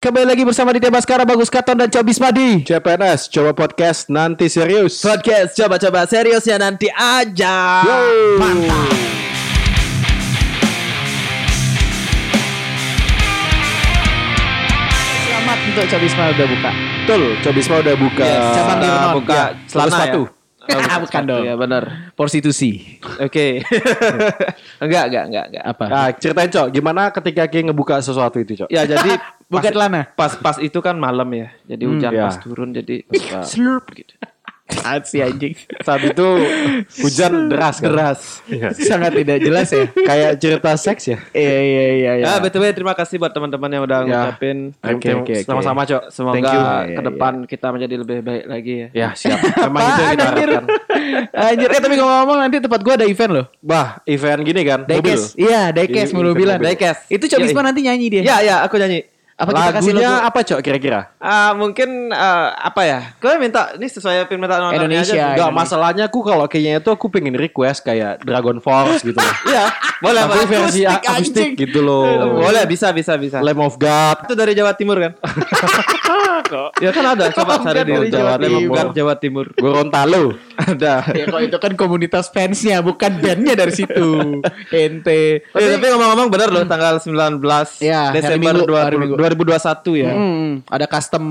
Kembali lagi bersama Didi Baskara, Bagus Katon, dan Cobis Madi. CPNS coba podcast nanti serius. podcast coba-coba seriusnya nanti aja. Yo. Selamat untuk Cobis Madi udah buka. Betul, Cobisma udah buka. Nah, Yes, Siapa nih, Ron? buka Ya, celana celana sepatu. Ah, bukan dong. Ya benar. Prostitusi. Oke. enggak, enggak, enggak, enggak. Apa? Nah, ceritain Cok, gimana ketika Ki ngebuka sesuatu itu Cok? Ya jadi Buka pas- celana. Pas pas itu kan malam ya. Jadi hujan ya. pas turun jadi slurp gitu. Apaan sih anjing? Saat itu hujan deras kan? Deras. Iya. Sangat tidak jelas ya. Kayak cerita seks ya? Iya, iya, iya. iya. Ah, btw terima kasih buat teman-teman yang udah Ya. ngucapin. Oke, oke, oke. Sama-sama, Thank you. Cok. Semoga Ya, ke depan kita menjadi lebih baik lagi ya. Ya, siap. Emang itu yang Apaan kita anjir? harapkan. Anjir, eh tapi ngomong-ngomong nanti tempat gua ada event loh. Bah, event gini kan, Daikes. Iya, Ini Daikes mulu bilang. event mobil. Daikes. Itu Cobis Iya, Madi nanti nyanyi dia. Ya, ya, aku nyanyi. Apa kita kasih Lagunya logo? apa Cok kira-kira? Ah, mungkin ah, apa ya? Kau minta ini sesuai permintaan orang Indonesia. Enggak, Aja. Indonesia. masalahnya aku kalau kayaknya itu aku pengen request kayak Dragon Force gitu loh. Iya, boleh, Tapi boleh. versi Akustik, anjing. akustik gitu loh. Boleh, bisa, bisa, bisa. Lamb of God. Itu dari Jawa Timur kan? ya kan ada, coba cari di dari Jawa, Jawa Timur. Timur. Jawa Timur. Gorontalo. ada. Ya kalau itu kan komunitas fansnya bukan bandnya dari situ. Eh, Ente. tapi ngomong-ngomong bener loh tanggal 19 Ya, hari Desember Minggu, 20, hari Minggu. 2021 ya. Hmm, ada custom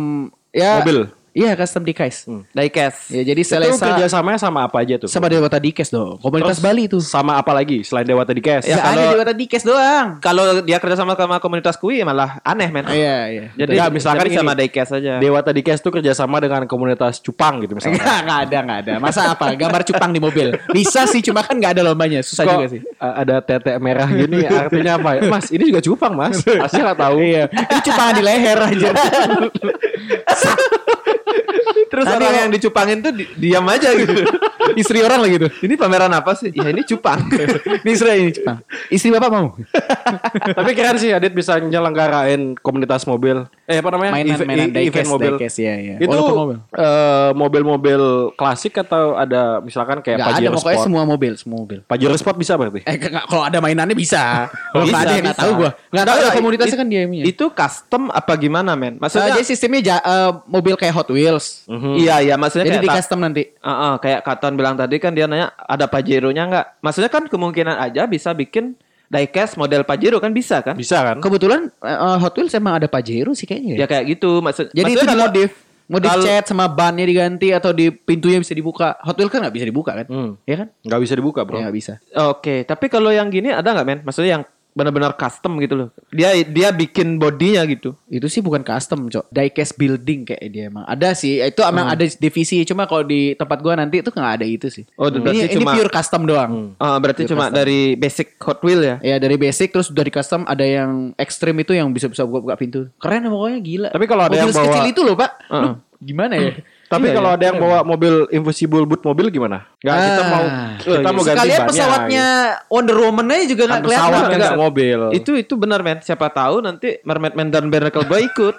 ya Mobil. Iya custom dikes. Diecast. Ya jadi Itu Selesa kerjasamanya sama apa aja tuh? sama Dewata Dikes dong. Komunitas Terus Bali itu. Sama apa lagi selain Dewata Dikes? Ya, ada kalau- Dewata Dikes doang. Kalau dia kerja sama sama komunitas kui malah aneh men. Iya iya. Jadi Enggak, misalkan jadi sama gini. Diecast aja. Dewata Dikes tuh kerjasama dengan komunitas Cupang gitu misalnya. Enggak, enggak ada, enggak ada. Masa apa? Gambar cupang di mobil. Bisa sih, cuma kan enggak ada lombanya. Susah Kok juga sih. a- ada tetek merah gini artinya apa? ya? Mas, ini juga Cupang, Mas. Asli nggak tahu. Iya. Ini cupangan di leher aja. Terus Tadi orang lo- yang dicupangin tuh di- diam aja gitu. Istri orang lagi tuh. ini pameran apa sih? Ya ini cupang. Ini istri ini cupang. Istri Bapak mau? Tapi keren sih Adit bisa nyelenggarain komunitas mobil. Eh apa namanya? Eve- i- Mainan-mainan diecast, event mobil. diecast, iya, iya. Itu Walaupun mobil. eh, mobil-mobil klasik atau ada misalkan kayak Enggak ada Pajero pokoknya Sport? semua mobil, semua mobil. Pajero Sport bisa berarti? Eh enggak, kalau ada mainannya bisa. Kalau Oh, Bisa, enggak ada enggak bisa. tahu gua. Enggak tahu Enggak, ya, komunitasnya it- kan dia yang punya. Itu custom apa gimana men? Eh, Maksudnya jadi sistemnya ja- eh, mobil kayak Hot Wheels. Iya iya maksudnya Mhm. Jadi kayak di ta- custom nanti. Heeh, kayak Katon bilang tadi kan dia nanya ada Pajero-nya nggak? Maksudnya kan kemungkinan aja bisa bikin diecast model Pajero kan bisa kan? Bisa kan? Kebetulan eh, eh, Hot Wheels emang ada Pajero sih Ya kayaknya. Ya. kayak gitu maksud. Jadi itu maksudnya kalau- dimodif, modif kalau- cat sama bannya diganti atau di pintunya bisa dibuka. Hot Wheels kan nggak bisa dibuka kan? Hmm. Iya kan? Nggak bisa dibuka, Ya Bro. nggak bisa. Oke, tapi kalau yang gini ada nggak men? Maksudnya yang benar-benar custom gitu loh. Dia dia bikin bodinya gitu. Itu sih bukan custom, Cok. Diecast building kayak dia emang. Ada sih, itu emang ada divisi. Cuma kalau di tempat gua nanti itu nggak ada itu sih. Oh, berarti ini, ini cuma- pure custom doang. Eh, berarti cuma dari basic Hot Wheel ya. Ya dari basic terus dari custom ada yang ekstrim itu yang bisa bisa buka buka pintu. Keren ya, pokoknya gila. Tapi kalau ada Mobil yang bawa- sekecil itu loh pak, Lu Heeh. gimana ya? Tapi kalau ada yang bawa mobil invisible boot mobil gimana? Enggak, kita Ah. mau kita mau ganti Sekalian bannya, pesawatnya Wonder Woman aja juga gitu. nggak Kan kelihatan. pesawat kan Nggak- nggak mobil. Itu itu benar men. Siapa tahu nanti Mermaid Man dan Barnacle Boy ikut.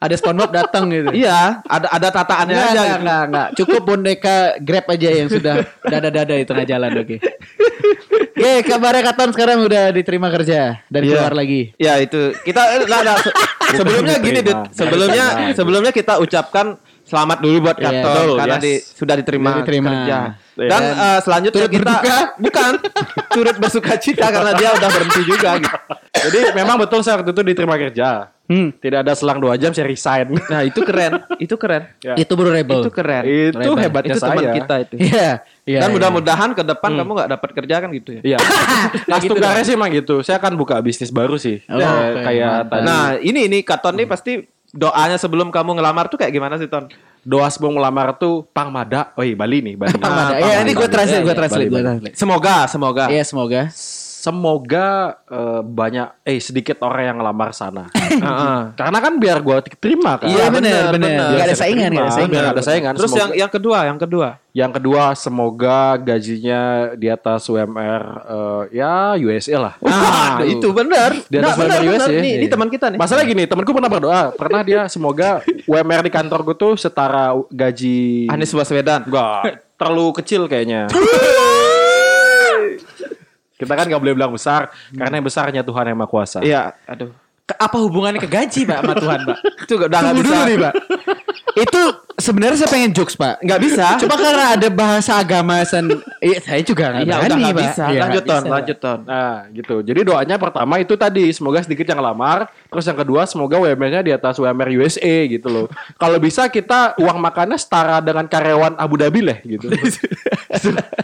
Ada SpongeBob datang gitu. iya, ada ada tataannya Nggak, aja. nggak, gitu. nggak, nggak. Cukup boneka Grab aja yang sudah dada-dada di tengah jalan oke. Oke, kabarnya Katon sekarang udah diterima kerja dan Iya. keluar lagi. Ya itu kita nah, nah, se- sebelumnya gini Dit. diterima. sebelumnya Diterima. sebelumnya kita ucapkan selamat dulu buat Iya, kantor betul, karena yes. di- sudah diterima, Sudah diterima. kerja. Iya. Dan eh, selanjutnya turut kita berduka. bukan turut bersuka cita karena dia udah berhenti juga gitu. Jadi memang betul saya waktu itu diterima kerja. Hmm. Tidak ada selang dua jam saya resign. Nah, itu keren, itu keren. Ya. Itu baru rebel. Itu keren. Itu Keren. hebatnya itu teman saya. kita itu. Iya. iya, Dan iya. mudah-mudahan ke depan kamu nggak dapat kerja kan gitu ya. Iya. Nah, tugasnya sih emang gitu. Saya akan buka bisnis baru sih. Oh, Ya, oke. kayak Mantap. tadi. Nah, ini ini Katon nih pasti doanya sebelum kamu ngelamar tuh kayak gimana sih Ton? doa sebelum melamar tuh Pangmada. Oh, iya, Bali nih, Bali. Pang Ah, Mada. Iya, Pang ini Mada. gue translate, Iya, gue iya, translate, Bali, gue Bali. translate. Semoga, semoga. Iya, semoga. Semoga eh, banyak eh sedikit orang yang ngelamar sana. Heeh. Karena kan biar gue terima kan. Iya, Iya, benar, benar, benar. benar. Gak ada Saya saingan, terima. gak ada saingan. Nggak ada saingan. Terus Semoga- yang yang kedua, yang kedua. Yang kedua, semoga gajinya di atas UMR eh, ya USE lah. Nah, Waduh. itu benar. Di atas Nah, benar, UMR benar. USE. Nih, ini teman kita nih. Masalah ya. gini, temanku pernah berdoa, pernah dia semoga UMR di kantor gue tuh setara gaji Anies Baswedan. Enggak, terlalu kecil kayaknya. Kita kan gak boleh bilang besar, karena yang besarnya Tuhan yang Maha Kuasa. Iya, aduh. Ke- apa hubungannya ke gaji pak sama Tuhan pak? Itu udah nggak Tunggu bisa. dulu nih pak. Itu sebenarnya saya pengen jokes pak. Nggak bisa. Cuma karena ada bahasa agama san, eh, saya juga nggak Iya, udah berani nggak pak. bisa. Iya, lanjut nggak ton, bisa. lanjut ton. Nah gitu. Jadi doanya pertama itu tadi semoga sedikit yang lamar. Terus yang kedua semoga WMR-nya di atas WMR USA gitu loh. Kalau bisa kita uang makannya setara dengan karyawan Abu Dhabi lah gitu.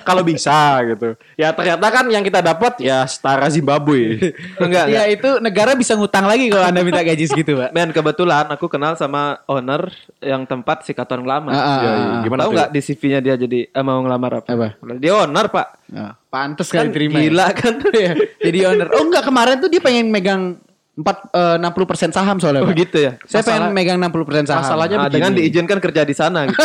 Kalau bisa gitu. Ya ternyata kan yang kita dapat ya setara Zimbabwe. Enggak, Iya itu negara bisa ngutang lagi kalau anda minta gaji segitu pak. Men kebetulan aku kenal sama owner yang tempat si Katon ngelamar. Ah, ah, Ya, ah, iya. ah. Gimana Tahu tuh? nggak di CV-nya dia jadi eh, mau ngelamar apa? Apa? Dia owner pak. Nah, Pantes Kan kali terima. ya. gila kan? Iya, Jadi owner. Oh enggak kemarin tuh dia pengen megang eh, 4 60% saham soalnya. Oh Pak. gitu ya. Saya pengen Masalah- megang 60% saham. masalahnya Ah, begini. dengan diizinkan kerja di sana. Gitu.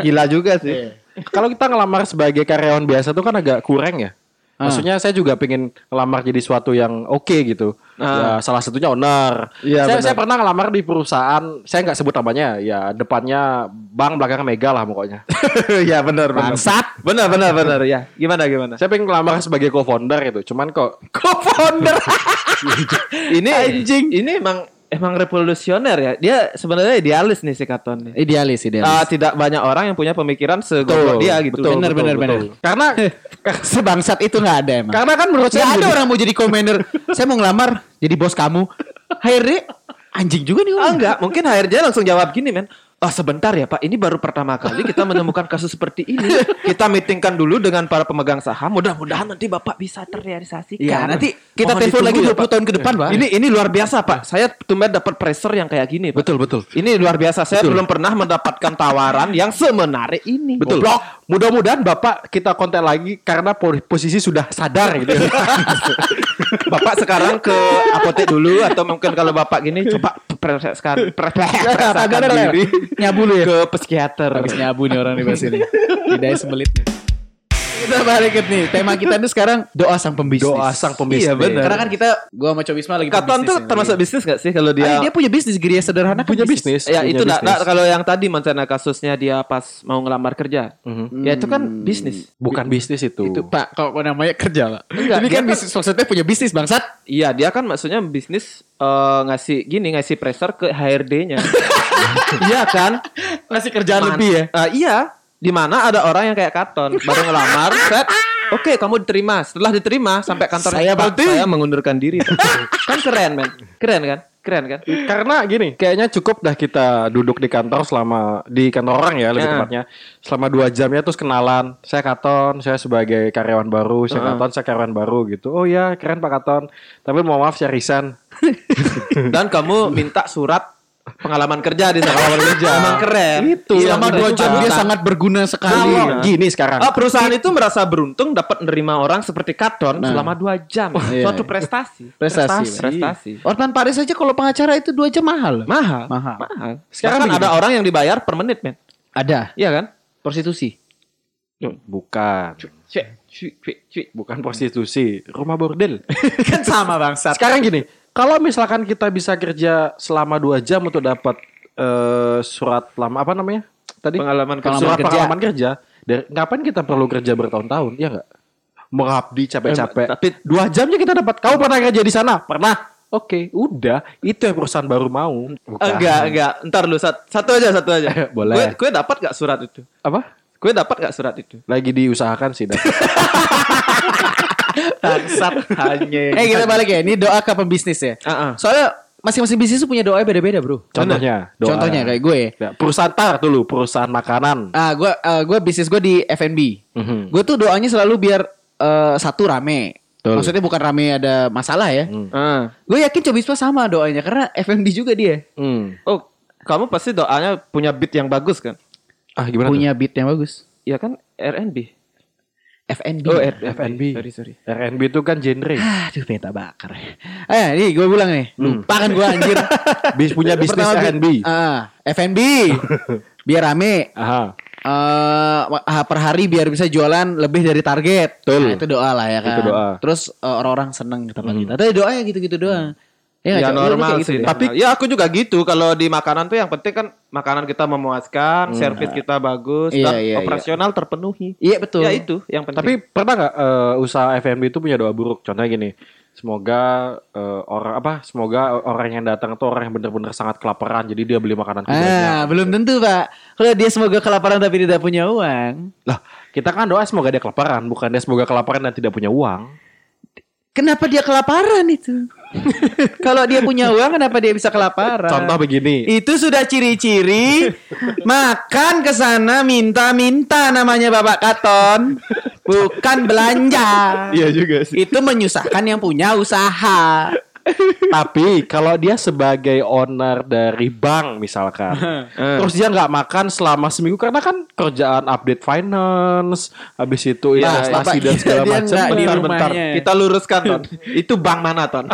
Gila juga sih. Kalau kita ngelamar sebagai karyawan biasa tuh kan agak kurang ya. Maksudnya saya juga pengen ngelamar jadi suatu yang oke gitu. Ah. Ya, salah satunya owner. Iya, saya, benar. saya pernah ngelamar di perusahaan, saya nggak sebut namanya, ya depannya bank belakang mega lah pokoknya. ya benar benar. Bangsat. Benar benar benar ya. Gimana gimana? saya pengen ngelamar sebagai co-founder itu. Cuman kok Co-founder. Ini Ini emang emang revolusioner ya. Dia sebenarnya idealis nih si Katon nih. idealis, Ah, idealis. tidak banyak orang yang punya pemikiran Betul, segoblok dia gitu. betul, Bener, betul, bener, betul. bener. Karena Sebangsat itu nggak ada emang. karena kan menurut Nggak saya ada begini. orang mau jadi komander. saya mau ngelamar jadi bos kamu. Akhirnya anjing juga nih Ah orang. enggak, mungkin HRD langsung jawab gini men. Oh sebentar ya Pak, ini baru pertama kali kita menemukan kasus seperti ini. Kita meetingkan dulu dengan para pemegang saham. Mudah-mudahan nanti Bapak bisa terrealisasikan. Iya, nanti kita Mohon telepon ditunggu lagi ya, 20 Pak. tahun ke depan, Pak. Ini ini luar biasa Pak. Saya tumben dapat pressure yang kayak gini. Pak. Betul, betul. Ini luar biasa. Saya belum pernah mendapatkan tawaran yang semenarik ini. Betul. Goblok. Mudah-mudahan Bapak kita kontak lagi karena po- posisi sudah sadar gitu. Bapak sekarang ke apotek dulu atau mungkin kalau Bapak gini coba periksakan Ya, periksakan diri Nyabu lu ya. ke psikiater. Habis nyabu nih orang di bahas ini. Tidaknya sebelit nih. Kita balik ke nih. Tema kita tuh sekarang doa sang pembisnis. Doa sang pembisnis. Iya, benar. Karena kan kita gua sama Cobisma lagi Katon tuh pembisnis termasuk bisnis gak sih kalau nih. Ah, dia? dia punya bisnis geria sederhana kan punya bisnis. ya punya itu nah, bisnis. nah, kalau yang tadi Mancana kasusnya dia pas mau ngelamar kerja. Mhm. Ya itu kan bisnis. Hmm. bukan bisnis itu. Itu Pak, kalau namanya kerja lah. Enggak, Ini dia kan kan- bisnis maksudnya punya bisnis bangsat. Iya, dia kan maksudnya bisnis eh, ngasih gini ngasih pressure ke HRD-nya. iya kan? Ngasih kerjaan Man- lebih ya. Eh, iya, di mana ada orang yang kayak Katon baru ngelamar, set Oke, kamu diterima. Setelah diterima sampai kantor Saya "Pak, banting." saya mengundurkan diri. kan keren, men. Keren kan? Keren kan? Karena gini, kayaknya cukup dah kita duduk di kantor selama di kantor orang ya lebih Ya. tepatnya selama dua jamnya terus kenalan. Saya Katon, saya sebagai karyawan baru, saya Katon, saya karyawan baru gitu. Oh ya, keren Pak Katon. Tapi mau maaf saya resign. Dan kamu minta surat pengalaman kerja di sana. Pengalaman kerja. Emang keren. Itu. Iya, Selama keren. dua jam dia Iya. sangat berguna sekali. Kalau gini sekarang. Ah, perusahaan itu merasa beruntung dapat nerima orang seperti Katon selama dua jam. Nah. iya. Suatu prestasi. Prestasi. Prestasi. Orman Paris aja kalau pengacara itu dua jam mahal. Mahal. Mahal. Sekarang kan Bahkan ada orang yang dibayar per menit, men. Ada. Iya kan? Prostitusi. Bukan. Cuek, cuek, cuek, cuek. Bukan prostitusi, rumah bordel. kan sama bangsat. Sekarang gini, kalau misalkan kita bisa kerja selama dua jam untuk dapat eh, surat lama apa namanya? Tadi Pengalaman kerja. surat Pengalaman kerja. pengalaman kerja. Dari, ngapain kita perlu kerja bertahun-tahun? Ya enggak? Mengabdi capek-capek. Eh, tapi- dua jamnya kita dapat. Kau pernah kerja di sana? Pernah. Oke, udah. Itu yang perusahaan baru mau. Bukan. Enggak, enggak. Ntar lu sat- satu aja, satu aja. Boleh. Gue, gue dapat gak surat itu? Apa? Gue dapat gak surat itu? Lagi diusahakan sih. Dan. Bangsat hanya. Eh kita balik ya. Ini doa ke pembisnis ya. Ah, ah. Soalnya masing-masing bisnis tuh punya doa beda-beda, Bro. Contohnya. doa. Contohnya kayak gue. Ya, perusahaan tar dulu, perusahaan makanan. Ah, gue eh, gue bisnis gue di F&B. Mhm. Gue tuh doanya selalu biar eh, satu rame. Betul. Hmm. Maksudnya bukan rame ada masalah ya. Ah. Gue yakin Cobisma sama doanya karena F&B juga dia Hmm. Oh, kamu pasti doanya punya beat yang bagus kan? Ah, gimana? tuh? punya beat yang bagus. Iya kan R&B. F&B. Oh, R- F&B. Sorry, sorry. R&B itu kan genre. Aduh, peta bakar. Eh, nih gue bilang nih. Lupa kan gue anjir. Bis punya Hmm. bisnis Pertama, R&B. Ah, F&B. biar rame. Aha. eh ah, per hari biar bisa jualan lebih dari target. Betul. Nah, itu doa lah ya kan. Itu doa. Hmm. Terus eh, orang-orang seneng ke tempat kita. Tapi doanya gitu-gitu doang. nggak, Ya, Cok? Lu- lu normal kayak gitu sih. ya? Tapi ya aku juga gitu. Kalau di makanan tuh yang penting kan makanan kita memuaskan, servis kita bagus, Hmm. Iya, dan iya, operasional terpenuhi. Iya betul. Ya itu yang penting. Tapi pernah nggak eh, usaha F&B itu punya doa buruk? Contohnya gini, Semoga eh, orang apa? Semoga orang yang datang itu orang yang benar-benar sangat kelaparan. Jadi dia beli makanan kudanya. Ah, belum tentu pak. Kalau dia semoga kelaparan tapi tidak punya uang, Lah, kita kan doa semoga dia kelaparan, bukan dia semoga kelaparan dan tidak punya uang. kenapa dia kelaparan itu? Kalau dia punya uang, kenapa dia bisa kelaparan? Contoh begini. Itu sudah ciri-ciri makan ke sana minta-minta namanya Bapak Katon, bukan belanja. Iya, juga Itu menyusahkan yang punya usaha. Tapi kalau dia sebagai owner dari bank misalkan, terus dia nggak makan selama seminggu karena kan kerjaan update finance, habis itu Nah, investasi Bapak, dan segala dia macam. nggak di Bentar, rumahnya. bentar. Iya. Kita luruskan Ton. Itu bank mana Ton?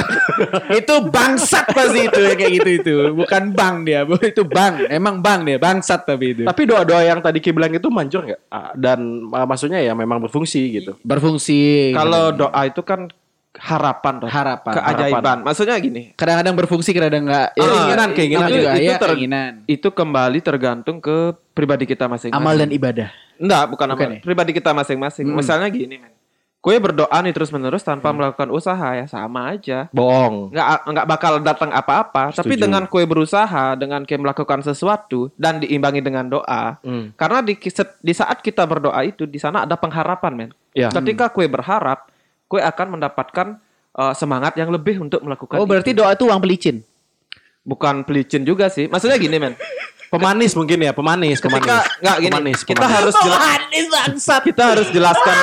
itu bangsat pasti itu ya, kayak gitu itu. Bukan bang dia, bu. itu bang. Emang bang dia, bangsat tapi itu. Tapi doa-doa yang tadi Ki bilang itu manjur nggak? Ah, Dan ah, maksudnya ya memang berfungsi gitu. Berfungsi. Kalau doa itu kan harapan Ton. Iya, Harapan, Keajaiban. harapan. Maksudnya gini. kadang-kadang berfungsi kadang nggak ya, Ah, keinginan keinginan itu- juga itu ya ter- keinginan Itu kembali tergantung ke pribadi kita masing-masing. amal dan ibadah Enggak, bukan, amal. Bukan ya? Pribadi kita masing-masing. Misalnya gini, men. Gue berdoa nih terus-menerus tanpa melakukan usaha ya sama aja. Bohong. Nggak nggak bakal datang apa-apa. Tapi Setuju. dengan kue berusaha, dengan kue melakukan sesuatu dan diimbangi dengan doa. Hmm. Karena di kis- di saat kita berdoa itu di sana ada pengharapan, men. Ya. Ketika kue berharap, kue akan mendapatkan uh, semangat yang lebih untuk melakukan. oh berarti itu. doa itu uang pelicin bukan pelicin juga sih. Maksudnya gini, men. Pemanis mungkin ya, pemanis, Ketika pemanis. nggak gini, Pemanis, kita pemanis. harus jelas kita harus jelaskan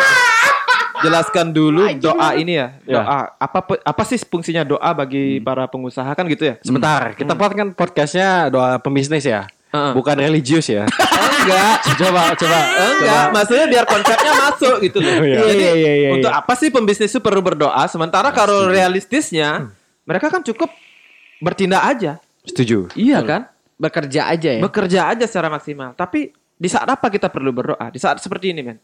jelaskan dulu doa ini ya Ya. Hmm. doa apa pe- apa sih fungsinya doa bagi para pengusaha kan gitu ya Sebentar, kita buat kan podcastnya doa pembisnis ya, Heeh. Oh, bukan religius ya. enggak coba, coba. enggak maksudnya biar konsepnya masuk gitu loh Iya. jadi Iya, iya, iya, untuk apa sih pembisnis itu perlu berdoa sementara kalau Hmm. realistisnya mereka kan cukup bertindak aja Setuju. iya kan bekerja aja ya bekerja aja secara maksimal. Tapi di saat apa kita perlu berdoa? Di saat seperti ini, men.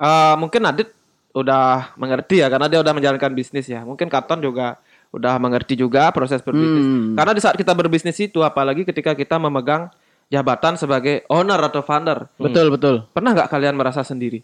Eh, mungkin Adit udah mengerti ya karena dia udah menjalankan bisnis ya. Mungkin Katon juga udah mengerti juga proses berbisnis. Hmm. Karena di saat kita berbisnis itu apalagi ketika kita memegang jabatan sebagai owner atau founder. betul betul Pernah nggak kalian merasa sendiri?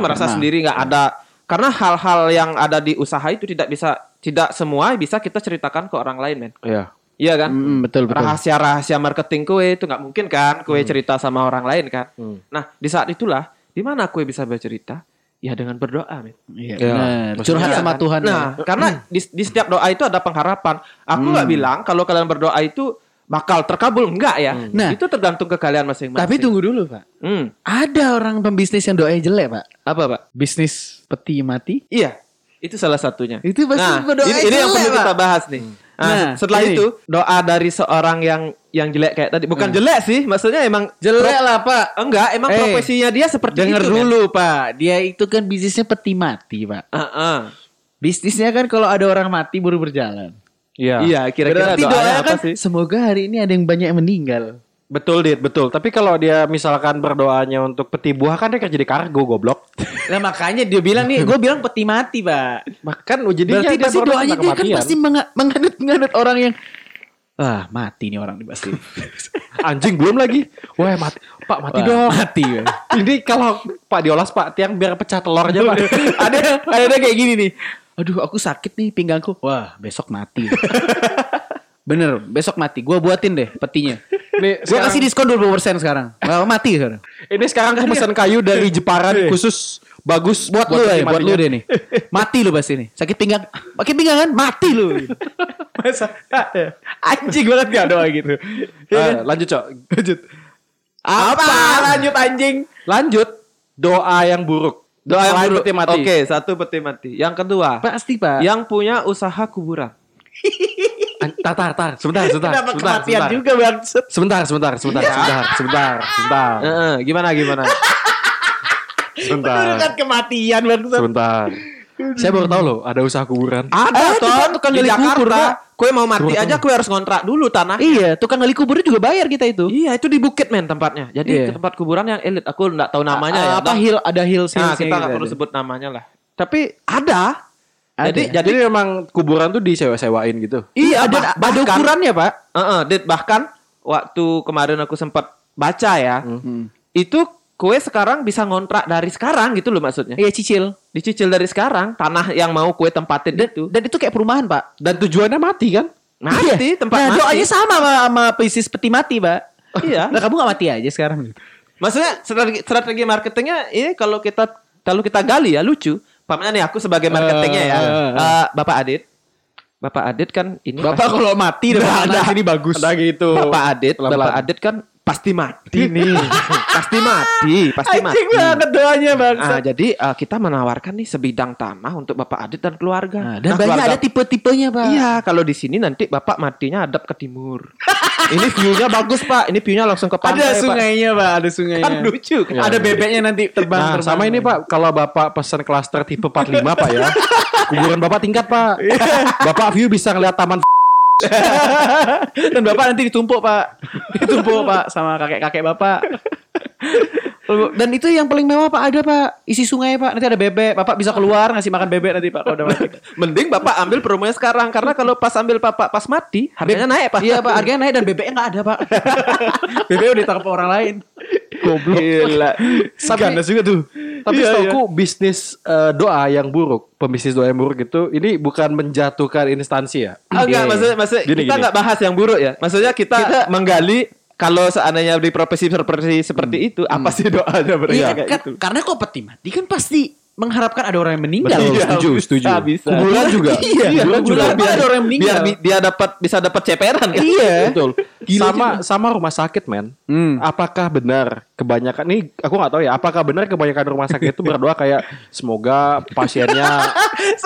Pernah, merasa Hmm. pernah. sendiri nggak ada karena hal-hal yang ada di usaha itu tidak bisa tidak semua bisa kita ceritakan ke orang lain, men. Iya. Iya kan? Mm, betul Hmm. betul rahasia-rahasia marketing kue itu nggak mungkin kan kue cerita sama orang lain kan Hmm. nah di saat itulah di mana kue bisa bercerita ya dengan berdoa men Ya. Iya, benar. Maksudnya curhat Iya sama kan? Tuhan nah ya. karena di, di setiap doa itu ada pengharapan aku nggak Hmm. bilang kalau kalian berdoa itu bakal terkabul enggak ya Nah. itu tergantung ke kalian masing-masing tapi tunggu dulu pak Hmm, ada orang pembisnis yang doanya jelek pak apa pak bisnis peti mati iya itu salah satunya Itu pasti nah berdoa ini, ini yang jelek, perlu Pak. kita bahas nih Nah, Nah, setelah ini. Hmm. itu doa dari seorang yang yang jelek kayak tadi bukan jelek sih maksudnya emang jelek lah pak Enggak, emang Eh, profesinya dia seperti denger itu. men. dulu pak dia itu kan bisnisnya peti mati pak Heeh. bisnisnya kan kalau ada orang mati baru berjalan Iya. Iya, kira-kira berarti doanya, doanya apa kan sih? semoga hari ini ada yang banyak yang meninggal Betul, Dit, betul. Tapi kalau dia misalkan berdoanya untuk peti buah kan dia kerja di kargo, goblok. Nah makanya dia bilang nih, gue bilang peti mati pak. Bahkan jadinya Berarti dia pasti berdoa doanya tentang dia kan kematian. pasti menga- menganut-nganut orang yang ah mati nih orang nih pasti. anjing belum lagi. Wah, mati. Pak, mati Wah, dong. Mati. Pak. Ini kalau Pak diolas Pak tiang biar pecah telurnya Pak. ada ada gitu. kayak gini nih. Aduh aku sakit nih pinggangku. Wah besok mati. Bener, besok mati. Gue buatin deh petinya. Nih, Gue sekarang- kasih diskon 20% sekarang. Wah, mati sekarang. Ini sekarang aku pesan kayu dari Jeparan khusus bagus Buat, peti lu ya, buat matinya. lu deh nih. Mati lu pasti nih. Sakit pinggang. Pakai pinggang kan? Mati lu. Masa? Anjing banget gak doa gitu. Iya Eh, kan? lanjut, Cok. Lanjut. Apa? Lanjut anjing. Lanjut. Doa yang buruk. Doa yang Selain buruk. peti mati. Oke, satu peti mati. Yang kedua, Pasti pak. yang punya usaha kuburan. An- Tar, tar, tar. Sebentar, sebentar. Kenapa sebentar, kematian sebentar. juga Ya. bangsat? Sebentar, sebentar, sebentar, sebentar, sebentar, sebentar, Heeh, gimana gimana? sebentar, Kan kematian bangsat. sebentar. Saya baru tahu loh ada usaha kuburan. Ada, Ada Ton. tuh kan Di di Jakarta. Jakarta. Kue mau mati Tunggu, aja kue harus ngontrak dulu tanah. Iya, tukang gali kubur juga bayar kita itu. Iya, itu di bukit men tempatnya. Jadi Iya. ke tempat kuburan yang elit. Aku nggak tahu namanya ya. apa Nah, hill ada gitu. hill nah, kita nggak perlu sebut namanya lah. Tapi ada. Ada Jadi ya? Jadi memang kuburan tuh disewa-sewain gitu. Iya, ada bah- ada bahkan- ukurannya, Pak. Hmm. Heeh, Dit, bahkan waktu kemarin aku sempat baca ya. Itu kue sekarang bisa ngontrak dari sekarang gitu loh maksudnya. Iya cicil. Dicicil dari sekarang tanah yang mau kue tempatin Dan, itu. dan itu kayak perumahan pak. Dan tujuannya mati kan? Mati Iya. tempat nah, mati. doanya sama sama, sama bisnis peti mati pak. Iya. Nah kamu gak mati aja sekarang. Maksudnya strategi, strategi marketingnya ini kalau kita kalau kita gali ya lucu. Pamannya nih aku sebagai marketingnya ya. Eh, eh, eh. Eh, Bapak Adit. Bapak Adit kan ini Bapak pasti- kalau mati Nah, depan nah. anak sini bagus. Ada gitu. Bapak Adit, Pelan-pelan. Bapak Adit kan pasti mati nih. pasti mati, pasti mati. Anjing banget doanya bang. Ah, jadi eh, kita menawarkan nih sebidang tanah untuk Bapak Adit dan keluarga. Nah, Nah, dan banyak keluarga- ada tipe-tipenya pak. Iya, kalau di sini nanti Bapak matinya hadap ke timur. ini view-nya bagus, Pak. Ini view-nya langsung ke pantai, Ada Pak. sungainya pak. Ada sungainya. Kan lucu. kan? Ada bebeknya nanti Nah, terbang. terbang. sama ini Pak, kalau Bapak pesan klaster tipe 45 Pak ya. Kuburan Bapak tingkat Pak. Bapak view bisa ngeliat taman Dan kan bapak nanti ditumpuk pak Ditumpuk pak Sama kakek-kakek bapak Dan itu yang paling mewah pak Ada pak Isi sungai pak Nanti ada bebek Bapak bisa keluar Ngasih makan bebek nanti pak Kalau udah mati Mending Bapak ambil promonya sekarang karena kalau pas ambil Bapak pas mati, harganya naik, Pak. Iya pak Harganya naik Dan bebeknya gak ada pak Bebek udah ditangkap orang lain goblok. Gila. Tapi, Ganas juga tuh tapi Iya, setauku bisnis eh, doa yang buruk, pembisnis doa yang buruk itu, ini bukan menjatuhkan instansi ya. Ah, enggak, maksudnya, maksudnya Gini, kita gini. nggak bahas yang buruk ya. Maksudnya kita, menggali kalau seandainya di profesi seperti seperti itu, apa sih doanya berarti Iya kayak kan- gitu. Karena kok peti mati Kan pasti Mengharapkan ada orang yang meninggal Betul, Iya. setuju, setuju. Ah, bisa. Kuburan juga. Iya, kuburan juga. kuburan. biar, Ada orang biar yang meninggal. bi- dia dapat bisa dapat ceperan kan. Iya Betul. Gila sama sama rumah sakit, men. Hmm. Apakah benar kebanyakan ini aku nggak tahu ya, apakah benar kebanyakan rumah sakit itu berdoa kayak semoga pasiennya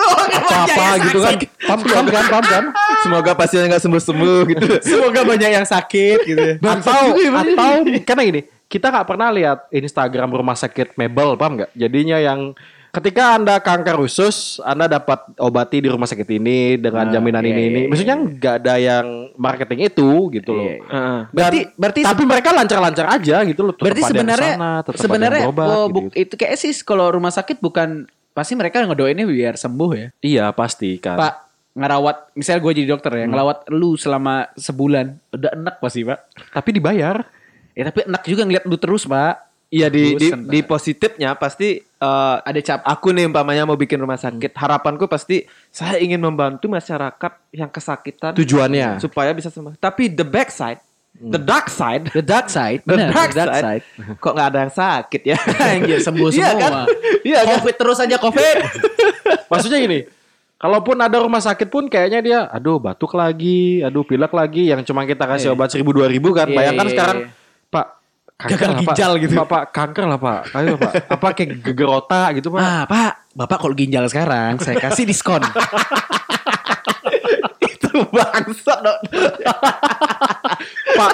Oh, iya, apa gitu kan. Paham paham kan, paham kan? Semoga pasien nggak sembuh-sembuh gitu. Semoga banyak yang sakit gitu atau atau karena gini kita nggak pernah lihat Instagram rumah sakit mebel paham nggak jadinya yang ketika anda kanker usus anda dapat obati di rumah sakit ini dengan Nah, jaminan iya, ini iya, ini iya. maksudnya nggak ada yang marketing itu gitu loh Iya, iya. Heeh. Berarti Dan- berarti tapi mereka lancar-lancar aja gitu loh tetap Berarti ada yang sebenarnya kesana, tetap ada yang sebenarnya berobat, oh, gitu, buk- gitu. itu kayak sih kalau rumah sakit bukan pasti mereka ngedoainnya biar sembuh ya. iya pasti kan Pak ngerawat misalnya gue jadi dokter Hmm. ya ngerawat lu selama sebulan udah enak pasti pak. tapi dibayar Ya tapi enak juga ngeliat lu terus pak. Iya di, di Bosen, di positifnya pasti eh, Ada cap. aku nih umpamanya mau bikin rumah sakit harapanku pasti saya ingin membantu masyarakat yang kesakitan tujuannya supaya bisa sembuh tapi the back side the dark side The dark side. the benar, dark, side, kok nggak ada yang sakit ya Anjir, sembuh Iya semua. kan? iya kan Covid terus aja covid. Maksudnya gini, kalaupun ada rumah sakit pun kayaknya dia, aduh batuk lagi, aduh pilek lagi, yang cuma kita kasih obat seribu dua ribu kan, Iya, bayangkan iya, sekarang, iya. pak kanker Gagal lah, Pak. ginjal gitu. Pak, Pak, kanker lah pak, ayo pak, apa kayak geger otak gitu pak, Ah pak, bapak kalau ginjal sekarang saya kasih diskon. itu bangsat dok pak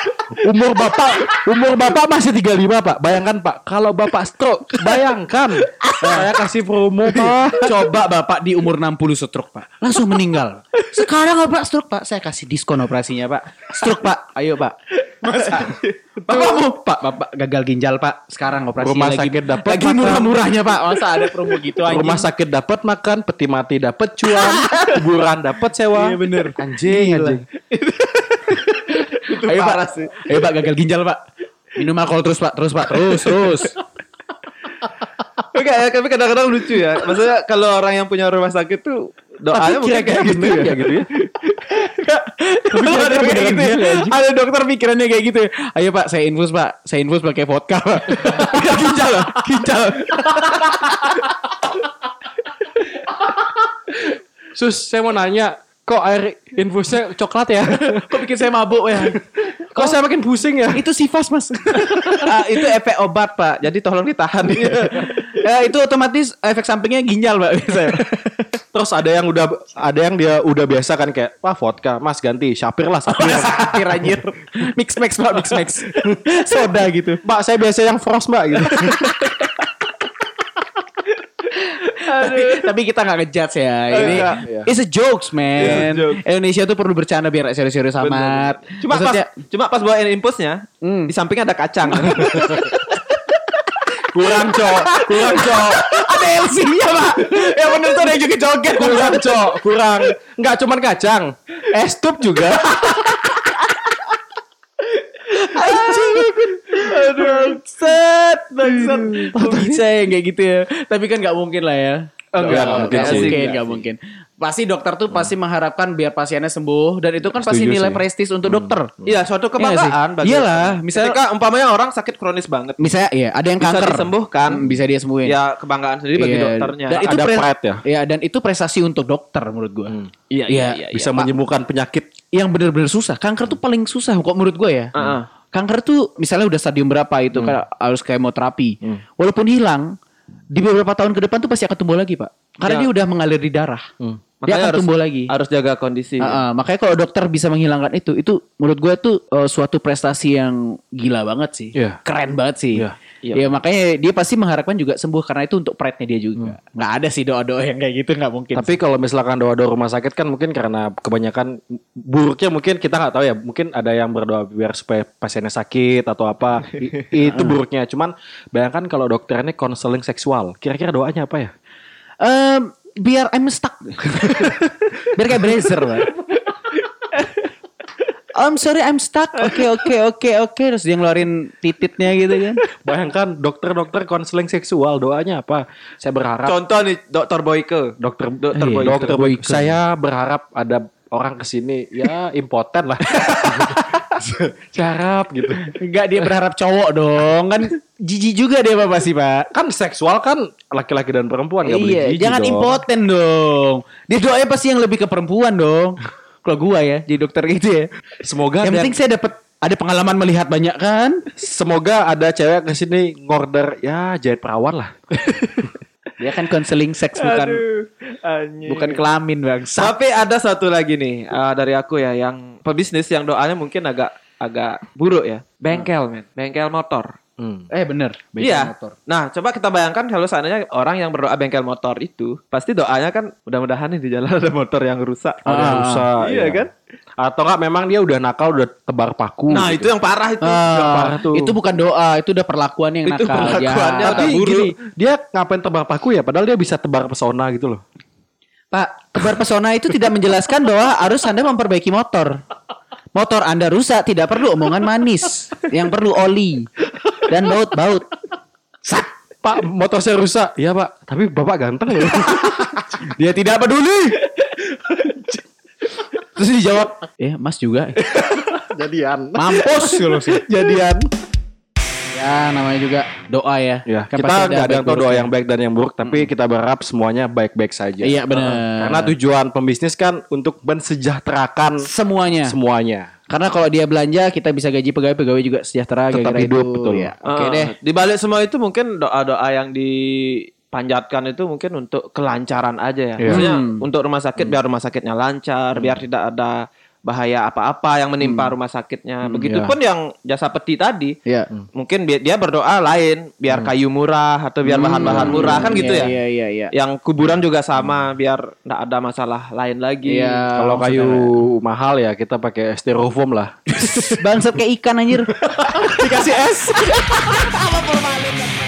umur bapak umur bapak masih 35 pak, bayangkan pak, kalau bapak stroke, bayangkan, saya kasih promo pak, Coba bapak di umur 60 stroke pak Langsung meninggal Sekarang apa stroke pak Saya kasih diskon operasinya pak Stroke pak Ayo pak Masa Bapak mau pak Bapak gagal ginjal pak Sekarang operasi Rumah lagi sakit dapat Lagi makan. murah-murahnya pak Masa ada promo gitu anjing rumah sakit dapat makan, peti mati dapat cuan, kuburan dapat sewa, Iya, bener. anjing Gila. anjing, itu Ayo parah pak sih Ayo pak gagal ginjal pak Minum alkohol terus pak Terus pak Terus terus Oke, ya, tapi kadang-kadang lucu ya. Maksudnya kalau orang yang punya rumah sakit tuh doanya mungkin kira-kira kayak gitu bener ya. ya gitu ya. Tapi kira-kira ada, kayak beneran gitu, dia, anjing. ada dokter pikirannya kayak gitu ya. Ayo pak saya infus pak Saya infus pakai vodka pak Gagal ginjal Pak. Ginjal Sus, saya mau nanya, kok air infusnya coklat ya? Kok bikin saya mabuk ya kok saya makin pusing ya? Itu sifas mas Ah, itu efek obat, Pak. Jadi tolong ditahan. Iya. ya, itu otomatis efek sampingnya ginjal mbak biasanya. Terus ada yang udah ada yang dia udah biasa kan kayak, "Wah, vodka, Mas ganti Syapir lah, Syapir." Sakit anjir. Mix max pak, mix max. Soda gitu. Mbak, saya biasa yang frost, Mbak gitu. tapi, tapi kita nggak ngejudge ya. Ini Enggak, iya. it's a jokes man. It's a joke. Indonesia tuh perlu bercanda biar nggak serius-serius amat. Cuma Maksudnya, Hmm. pas cuma pas bawain impulsnya, di sampingnya ada kacang. kurang, Cok. Kurang, Cok. ada LC-nya pak. Yang bener tuh ada yang joget-joget. Kurang, Cok. Kurang. Enggak cuman kacang. Es tup juga. Anjing. Bangsat, bangsat. Kok bisa ya kayak gitu ya? Tapi kan nggak mungkin lah ya. Enggak, nggak mungkin nggak sih. mungkin, nggak mungkin. Pasti dokter tuh pasti mengharapkan biar pasiennya sembuh dan itu kan pasti Setuju nilai sih. prestis untuk dokter. Iya, suatu Iya nggak sih? kebanggaan bagi Iyalah, dokter. misalnya- ketika umpamanya orang sakit kronis banget, Misalnya ya, ada yang Bisa kanker disembuhkan. Hmm, bisa dia sembuhin. ya kebanggaan sendiri bagi Iya. dokternya. Dan itu Ada pres- pride ya? Iya, dan itu prestasi untuk dokter menurut gua. Iya, iya, iya, bisa Pak. menyembuhkan penyakit Yang bener-bener susah, kanker tuh paling susah kok menurut gua ya. Heeh. Kanker tuh misalnya udah stadium berapa itu Hmm. kan harus kemoterapi. Walaupun hilang, di beberapa tahun ke depan tuh pasti akan tumbuh lagi, Pak. Ya. Karena Hmm. dia udah mengalir di darah. Dia Makanya akan harus- tumbuh lagi. Harus jaga kondisi. Iya. Ah, ah, makanya kalau dokter bisa menghilangkan itu, itu menurut gue tuh eh, suatu prestasi yang gila banget sih, Iya. keren banget sih. Iya. Ya makanya dia pasti mengharapkan juga sembuh karena itu untuk pride-nya dia juga. Nggak ada sih doa-doa yang kayak gitu nggak mungkin. Hmm. Tapi kalau misalkan doa-doa rumah sakit kan mungkin karena kebanyakan buruknya mungkin kita nggak tahu ya. Mungkin ada yang berdoa biar supaya pasiennya sakit atau apa. I- itu buruknya. Cuman bayangkan kalau dokternya konseling seksual, kira-kira doanya apa ya? Em, biar I'm stuck, biar kayak Brazier Pak. I'm sorry I'm stuck. Oke oke oke oke terus dia ngeluarin tititnya gitu kan. Bayangkan dokter-dokter konseling seksual doanya apa? Saya berharap Contoh nih Dokter Boyke. dokter Dokter eh, Boyke. dokter Boyke. Saya berharap ada orang kesini ya impoten lah. Saya harap gitu. Enggak dia berharap cowok dong kan jijik juga dia Pak pasti Pak. Kan seksual kan laki-laki dan perempuan nggak boleh Iya, jijik jangan dong. impoten dong. Dia doanya pasti yang lebih ke perempuan dong. Kalau gua ya, jadi dokter gitu ya. Semoga yang ada- penting saya dapat ada pengalaman melihat banyak kan. Semoga ada cewek kesini ngorder ya jahit perawan lah. Dia kan konseling seks bukan iya, bukan kelamin bang. Sap. Tapi ada satu lagi nih eh, dari aku ya yang pebisnis yang doanya mungkin agak agak buruk ya. Bengkel men, bengkel motor. Hmm. Eh bener. Bengkel iya. motor. Nah, coba kita bayangkan kalau seandainya orang yang berdoa bengkel motor itu, pasti doanya kan mudah-mudahan nih di jalan ada motor yang rusak. Ada yang Ah, rusak. iya kan? Atau enggak memang dia udah nakal udah tebar paku. gitu. Nah, itu yang parah itu. Hmm. Ah, parah tuh. Itu bukan doa, itu udah perlakuan yang Itu nakal. perlakuannya ya. Tapi udah buruk. gini, dia ngapain tebar paku ya? Padahal dia bisa tebar pesona gitu loh. Pak, tebar pesona itu tidak menjelaskan bahwa harus Anda memperbaiki motor. Motor Anda rusak, tidak perlu omongan manis. Yang perlu oli dan baut-baut. Sat. Pak, motor saya rusak. Iya, Pak. Tapi Bapak ganteng loh. dia tidak peduli. Terus dijawab, "Ya, Mas juga." Jadian. Mampus lu sih. Jadian. Ya, namanya juga doa ya. Ya, Kan kita pasti nggak ada yang tahu baik doa buruknya. yang baik dan yang buruk, tapi kita berharap semuanya baik-baik saja. Iya, benar. Heeh. Karena tujuan pembisnis kan untuk mensejahterakan semuanya. semuanya. Karena kalau dia belanja, kita bisa gaji pegawai-pegawai juga sejahtera Tetap gara-gara hidup, itu. betul. Ya, oke Ah, deh. Di balik semua itu mungkin doa-doa yang dipanjatkan itu mungkin untuk kelancaran aja ya. Iya. Maksudnya Hmm. untuk rumah sakit biar rumah sakitnya lancar, biar tidak ada bahaya apa-apa yang Hmm. menimpa rumah sakitnya. Begitupun yang jasa peti tadi. Iya. Mungkin bi- dia berdoa lain, biar kayu murah atau biar bahan-bahan murah kan gitu ya. Hmm. Iya, iya, iya. Yang kuburan juga sama, biar tidak ada masalah lain lagi. Iya. Kalau kayu mahal ya kita pakai styrofoam lah. Bangsat kayak ikan anjir. Dikasih es. Sama formalin.